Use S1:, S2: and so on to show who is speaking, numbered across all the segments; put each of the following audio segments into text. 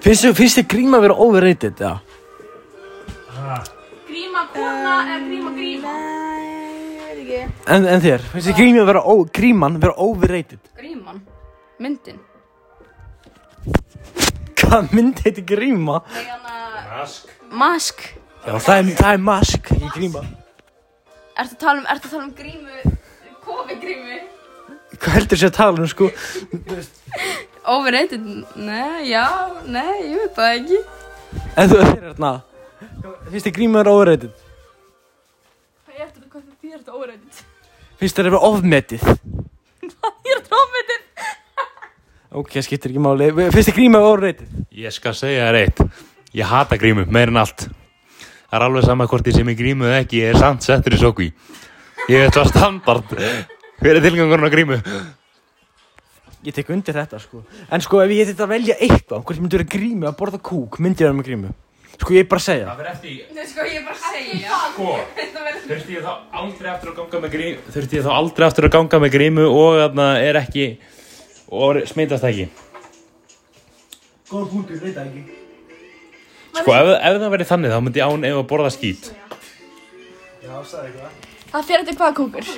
S1: Finnst þið- finnst þið gríma að vera overrated, já?
S2: Gríma kona eða gríma gríma?
S3: Nei, ég veit
S1: En, en þér, finnst þið gríma vera, ó, gríman vera overrated?
S2: Gríman? Myndin?
S1: Hvað mynd heiti gríma?
S2: Nei, hann að...
S4: Ask.
S2: Mask?
S1: Já, það er, það er mask í gríma.
S2: Ertu að tala um, ertu að tala um grímu? Kofi grímu?
S1: Hvað heldur þið að tala um, sko?
S2: Overrated? Nei, já, nei, ég veit það ekki.
S1: En þú er hérna, finnst þið gríma vera overrated?
S2: Hvað er þetta, hvað þér þetta overrated?
S1: Finnst þið að vera ofmetið?
S2: Ég er um trómmetinn!
S1: Ok, það skiptir ekki máli. Finnst þið gríma vera overrated?
S4: Ég skal segja þér eitt. Ég hata grímu, meir en allt. Það er alveg sama hvort ég sem ég grímu eða ekki, ég er samt settur í sókví. Ég veit hvað standard. Hver er tilgangurinn á grímu?
S1: Ég tek undir þetta, sko. En sko, ef ég þetta velja eitthvað, hvort ég myndi vera grímu að borða kúk, myndi ég vera með grímu. Sko, ég er bara að segja.
S4: fyrir eftir,
S2: Nei, sko, ég er bara að segja.
S4: sko, þurfti ég þá aldrei aftur að ganga með grímu, þurfti ég þá aldrei aftur að ganga með grímu og þarna er ekki, og smitast ekki.
S1: Góð punktur, veit það ekki.
S4: Sko, ef, ef það verið þannig, þá myndi ég án ef að borða skít.
S1: Já, sagði eitthvað.
S3: Það fyrir þetta hvað kúkur?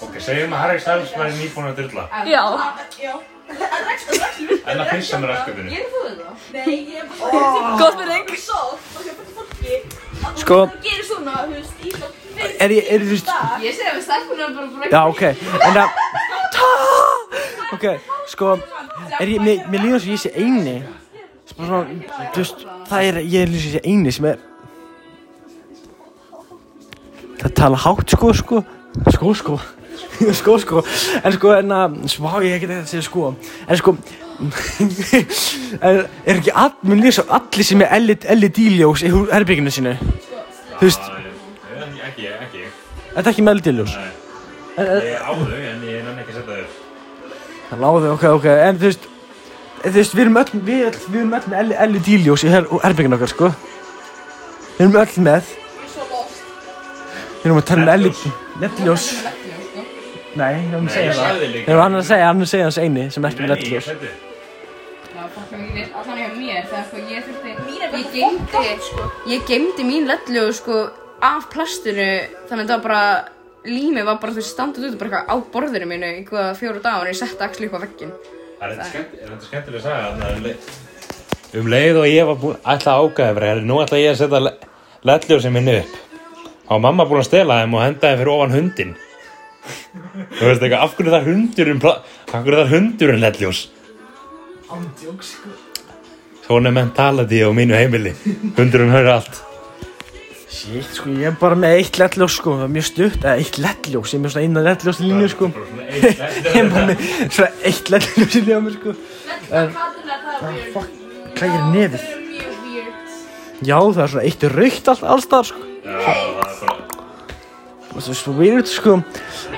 S4: Ok, segjum að Harry Styles væri nýbúin að dyrla.
S3: Já.
S4: En að pissa mér aðsköpunni.
S3: Góð spurning.
S1: Sko Er ég, er þú veist
S2: Ég segja að stelpunar bara bara...
S1: Já, ok En að Ok, sko Er ég, mér, mér líður svo ég sé eini Svo svona, þú veist Það er, ég er líður svo ég sé eini sem er Það tala hátt, sko, sko Sko, sko Sko, sko En sko, en að Svá, ég get ekki að segja sko En sko er, er ekki all, mér líður svo allir sem er LED ljós í herbygginu sínu Þú veist,
S4: Ekki, ekki.
S1: þetta er ekki með LED ljós
S4: Ég á þau, en ég nenni ekki að setja þau.
S1: Það láði, ok, ok, en þú veist Þú veist, við erum öll, við, öll, við erum öll með LED-ljós í her, herbyggin okkar, sko Við erum öll með Við erum að tala um LED LED-ljós
S2: sko.
S1: Nei, ég var að segja það
S4: sagði
S1: Ég var hann að segja, hann að segja hans eini sem er ekki með
S4: Ég
S1: LED-ljós
S4: setja
S2: Já, fólk er ekki allan hjá mér þegar sko ég þurfti ég geymdi, ég geymdi mín ledlu sko af plastinu þannig að það var bara límið var bara þú veist, standað út bara eitthvað á borðinu mínu einhvað fjóru dagar og ég setti axli upp á veggin
S4: Það er þetta skemmt- er þetta skemmtileg að sagja þarna. Um leið og ég var búin, ætla að ágæða fyrir herri, nú ætla ég að setja ledljósið minni upp. Þá var mamma búin að stela þeim og henda þeim fyrir ofan hundin. Þú veist eitthvað, af hverju það er hundurinn, pla- af hverju það er hundurinn ledljós?
S1: Ándjóks, sko
S4: Svona er mentality á mínu heimili. Hundurinn höfður allt.
S1: Shit, sko, ég er bara með eitt LED-ljós, sko, það er mjög stutt Eða eitt LED-ljós, ég er með svona eina LED-ljós í línu, sko Ég er bara með svona eitt LED-ljós í línu, sko En, fuck, hvað ég er nefið Já, það er svona eitt raukt all, allstar sko. og þú veist, svo weird sko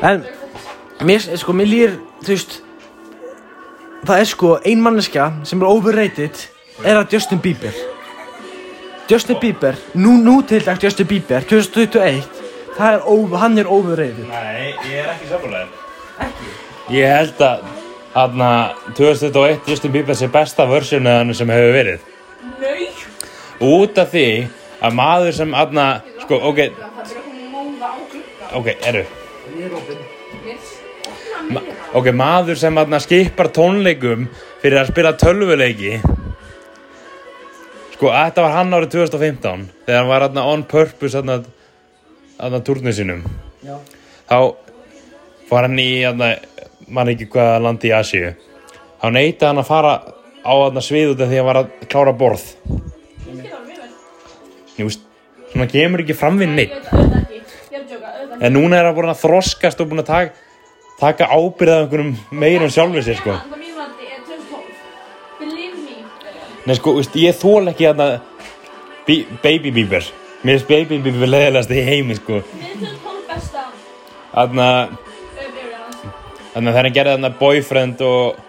S1: en mér, sko, mér líður þú veist það er sko ein manneska sem er overrated er að Justin Bieber Justin Bieber nú, nú til dag Justin Bieber 2021 það er, over- hann er overrated
S4: Nei, ég er ekki samfélagið. Ekki? Ég held að hana, 2001 Justin Bieber sé besta versjónu hann sem hefur verið. Nei! Út af því að maður sem hana, sko, ok,
S2: Það er hún móða á glugga
S4: ok, eru. Ma, ok, maður sem hana skipar tónleikum fyrir að spila tölvuleiki. Sko, þetta var hann árið 2015 þegar hann var hana on purpose hana, hana turnið sinum.
S1: Já.
S4: þá var hann í aðna, mann ekki hvaða landi í Asíu þá neytaði hann að fara á aðna svið út af því að hann var að klára borð Jú, veist, svona kemur ekki fram við neitt en núna er hann búin að þroskast og búin að taka, taka ábyrða einhverjum meir en sjálfur sér sko Nei, sko, veist, ég þól ekki aðna bí, Baby Bieber Mér finnst Baby Bieber leðilegast í heimi sko Aðna Þannig að þegar hann gerði þarna boyfriend og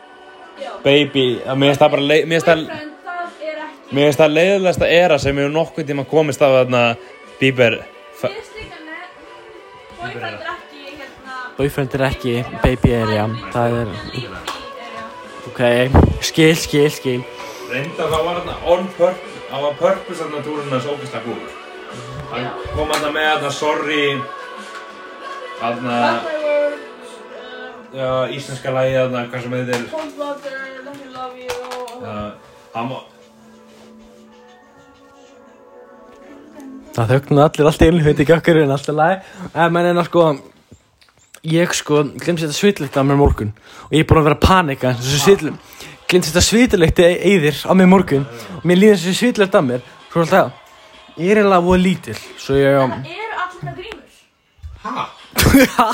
S4: baby, að mér finnst það bara leið, mér finnst það, mér finnst það leiðilegasta era sem hefur nokkuð tíma komist af þarna Bieber. Fa-
S1: Boyfriend er ekki, baby er já það er ok, skil, skil, skil.
S4: Reyndar þá var þarna on purpose, þá var purpose þarna túrinn hans ógeðslega góður. Hann kom þarna með þarna sorry, þarna, já, íslenska lagi þarna, hvað sem heitir,
S3: Cold water, let me love you.
S4: uh, hann var,
S1: Það þögnu allir allt í einu, veit ekki okkur en alltaf lagi. En menn en að sko, ég sko, glemst þetta svitlegt á mér morgun. Og ég er búin að vera að panika, þessu svitlum. Glemst þetta svitlegt eðir á mér morgun. Og mér líður þessu svitlegt á mér. Svo alltaf, ég er eiginlega voða lítill. Svo ég, um,
S3: Er allir með grímur?
S4: ha?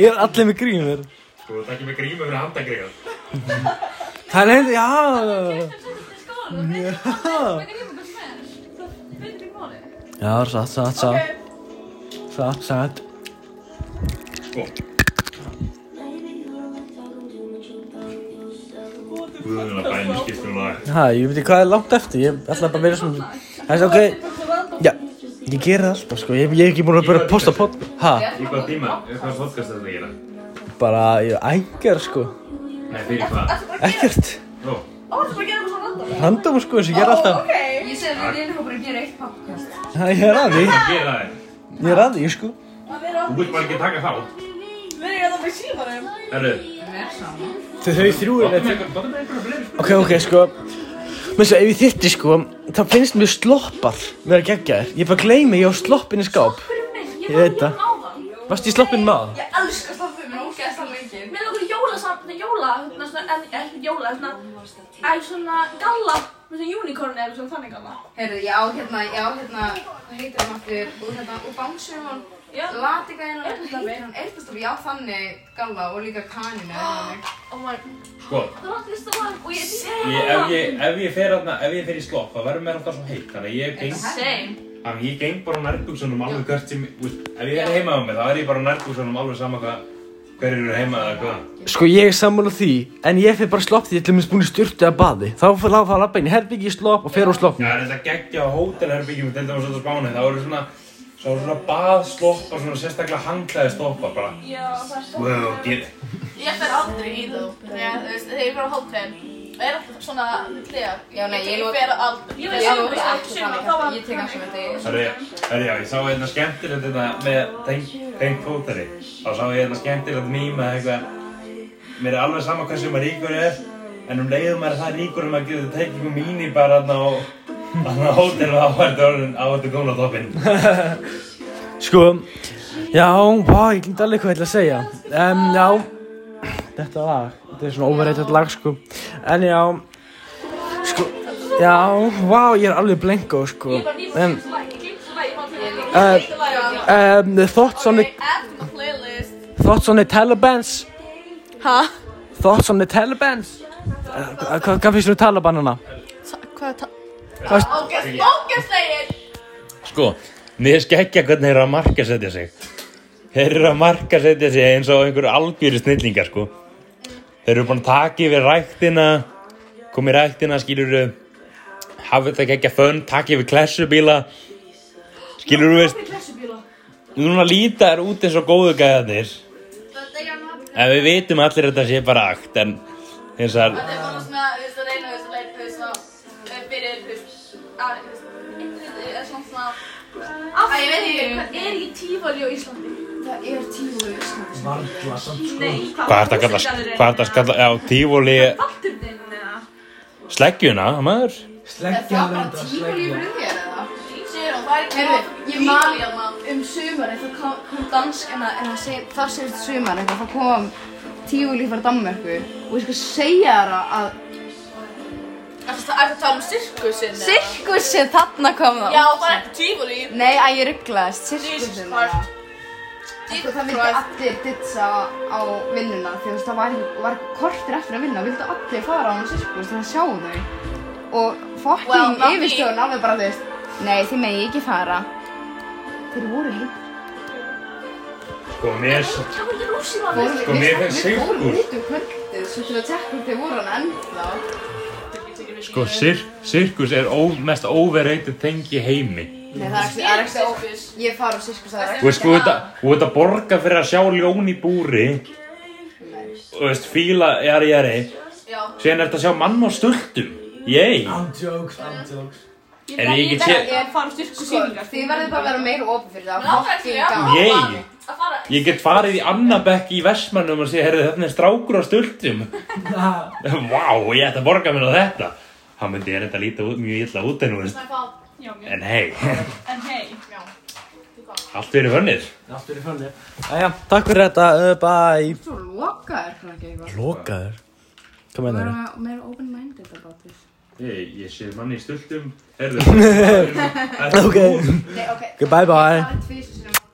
S1: ég er allir með grínur.
S4: Sko, það er ekki með grímu fyrir handagregar.
S1: Það er eitthvað, já. Já, satt, satt, satt. Satt, satt.
S4: Sko. Guðurna bænir skiptum um lag.
S1: Ha, ég veit ekki hvað er langt eftir, ég ætla bara að vera svona Það er ok, já, ég geri það alltaf sko, ég, ég er ekki búin að byrja að posta pod Ha,
S4: Í hvað tíma, hvað podcast er þetta að gera?
S1: bara, ég ængar sko,
S4: Nei, fyrir hvað?
S1: ekkert
S4: Jó,
S3: Ó, þú bara gerir svona random.
S1: Random sko, eins og ég ger alltaf
S3: Ok.
S2: Ég segi að við erum bara að gera eitt podcast.
S1: Ha, ég er að því,
S4: hvað gera það er?
S1: ég er að því sko
S3: Það verður
S4: Þú vilt bara ekki taka þátt.
S3: Við erum hérna með símanum.
S4: Herru,
S2: Við erum saman.
S1: Þau þau þrjú
S4: gott
S1: er
S4: með einhverja fleiri spurningar.
S1: Ok, ok, sko Mér svo, ef ég þyrti sko, þá finnst mér sloppar vera geggjaðir Ég bara gleymi, ég á sloppin í skáp Ég veit það Varst í sloppin maður?
S3: Ég elska það.
S2: Við erum ógæðast að lengi.
S3: Mér er okkur jólasafn, jóla, hérna svona, en ekki jóla, hérna, æ, svona galla, með svona unicorn eða svona þannig galla.
S2: Heyrðu, já, hérna, já, hérna, hvað heitir hann aftur? Úr hérna, úr bánsurum hann,
S3: Já.
S2: latika hérna,
S3: Eyrnastafi.
S2: hérna, eyrnastafi, já, þannig, galla og líka kaninu,
S5: Ah.
S2: þannig.
S3: Oh my,
S4: Sko,
S3: það var allir stóðan og ég
S4: ég, ef, ég, ef ég fer aðna, ef ég fer í slopp, það verður mér alltaf svo heitt, þannig að ég geng,
S3: Same.
S4: þannig að ég geng bara á nærbuksunum alveg hvert sem, þú veist, ef ég er heima á mig, þá er ég bara á nærbuksunum alveg sama hvað, hver eru heima eða hvað.
S1: Sko ég er sammála því, en ég fyrir bara slopp því ég til minnst búin í styrtu að baði. Þá fyrir láfa að lappa inn í herbyggi í slopp og fer úr slopp.
S4: Já, en þetta geggja á hótelherbyggjum, til dæmis út á Spáni, þá eru svona, svo eru svona baðsloppar, svona sérstaklega hanglaði sloppar bara.
S3: Já, það er svo.
S4: Wow, get,
S5: Ég fer aldrei í þú, þegar þú veist, þegar ég fer á hótel, það er alltaf svona hliðar.
S2: Já, nei, ég
S5: Ég
S2: not-
S5: fer aldrei.
S3: Ég
S2: Já,
S3: veit
S2: ég
S3: samt
S2: er
S3: að
S2: ekki
S3: sumar,
S2: þannig,
S3: það var
S2: ég tek af sem þetta,
S4: Herri, herri, já, ég sá hérna skemmtilegt þetta með tengt- tengt fótari. Þá sá ég hérna skemmtilegt mím að eitthvað, mér er alveg sama hversu maður ríkur er, en um leiðum maður er það ríkur að maður getur tekið um mínu bara þarna á, þarna á hótel og þá ertu orðin, þá ertu komin á toppinn.
S1: Sko, já, vá, ég glinda alveg hvað ég ætla að segja. Um, já, þetta lag, þetta er svona overrated lag, sko. En já, sko, já, vá, ég er alveg blengo, sko. En, um, thoughts on the,
S5: Add to the playlist.
S1: thoughts on the Talibans,
S5: Hæ?
S1: thoughts on the Talibans. Eh, hva- Hvað hvað finnst þú um Talibanana?
S5: Hvað er það?
S3: Ógæst, ógæst þeir!
S4: Sko, mér skeggja hvernig þeir eru að markasetja sig Þeir eru að markasetja sig eins og einhverju algjöru snillingar sko Þeir eru búin að taka yfir ræktina Komi ræktina, skilur við Hafið þetta ekki ekki að fönn, taka yfir klessubíla Skilur við veist Núna líta er út eins og góðu gæðanir En við vitum allir að þetta sé bara akt En eins
S5: Það er
S4: og
S5: bara svona, þú veist, að reyna, þú veist, að leita, þú veist, að eh, fyrir, þú veist, að, þú veist, einhvern veginn er svona svona,
S3: Af
S5: Æ, ég veit
S3: hverju
S5: ekki.
S3: er í tífali á Íslandi?
S2: það er tíma í Íslandi.
S1: Varla, samt, sko.
S3: Nei,
S4: hvað er þetta að kalla Hvað er þetta að kalla, já, tífóli
S3: Valdurinn eða?
S4: Sleggjuna, maður
S2: Er það bara tíma lífur um þér, eða?
S5: sér og það er
S2: Heyrðu, ég man
S5: að maður.
S2: um sumarið, þá kom, kom danskana, en það segir, þar segir þetta sumarið, þá kom tíulíf frá Danmörku og ég skal segja þér að
S5: Það er að tala um sirkusinn. eða?
S2: sirkusinn þarna kom það.
S5: Já, það er ekki tífóli.
S2: Nei, að ég rugglaðist,
S5: Jesus
S2: sirkusinn þarna.
S5: Christ.
S2: Sko,
S5: Jesus
S2: það vildi
S5: Christ.
S2: allir ditsa á vinnuna því þú veist það var, ekki- var kortir eftir að vinna vildi allir fara á hún sirkus til að sjá þau og
S5: Well,
S2: fucking
S5: not me.
S2: yfirstjórn alveg bara þú veist nei þið megi ekki fara þeir voru heitt
S4: Sko, mér
S3: Það var ekki rúsið á
S2: voru,
S4: Sko, mér finnst
S2: við
S4: Sigurður.
S2: vorum út úr kvöldið svo til að tekka hvort þeir voru hann ennþá
S4: Sko, sir sirkus er ó, mest overrated thing í heimi.
S2: nei það er ekki, það er ekki ó, ég fara á sirkus það er
S4: Þú veist, þú veit að, þú veit að borga fyrir að sjá ljón í búri. Þú veist, fíla, jari, jari.
S5: Já.
S4: Síðan er þetta að sjá mann á stultum. Yey!
S1: I'm jokes, I'm jokes
S3: Ég
S4: Ef ég
S3: verð-
S4: get
S3: ég verð
S4: séð-
S3: að fara um á styrku
S2: Sko,
S3: síningar.
S2: þið verður bara að vera meira opið fyrir það.
S5: Mér langar
S2: Fokkin
S5: ekki, já.
S2: gaman.
S4: Yey!
S5: Að fara.
S4: Ég get farið í Annabekk í Vestmannum og sé, heyrðu, þetta er strákur á stultum. Vá, ég ætti að borga mér á þetta. Hann myndi ég reynda að líta út- mjög illa út en nú, veist.
S5: Svona fá.
S3: Já, mjög.
S4: En hei,
S3: En hei.
S5: Já.
S4: allt fyrir hönnir.
S1: Aftur í fönni Æja, takk fyrir þetta, uh, bye
S2: Svo lokaður svona ekki eitthvað.
S1: Lokaður? Hvað
S2: Við
S1: meinar
S2: verðum að- meira open-minded about this.
S4: Hei, ég sé manni í stultum. Heyrðu,
S1: Ok,
S2: Nei, ok.
S1: bye bye
S2: Það er tvisvar sinnum.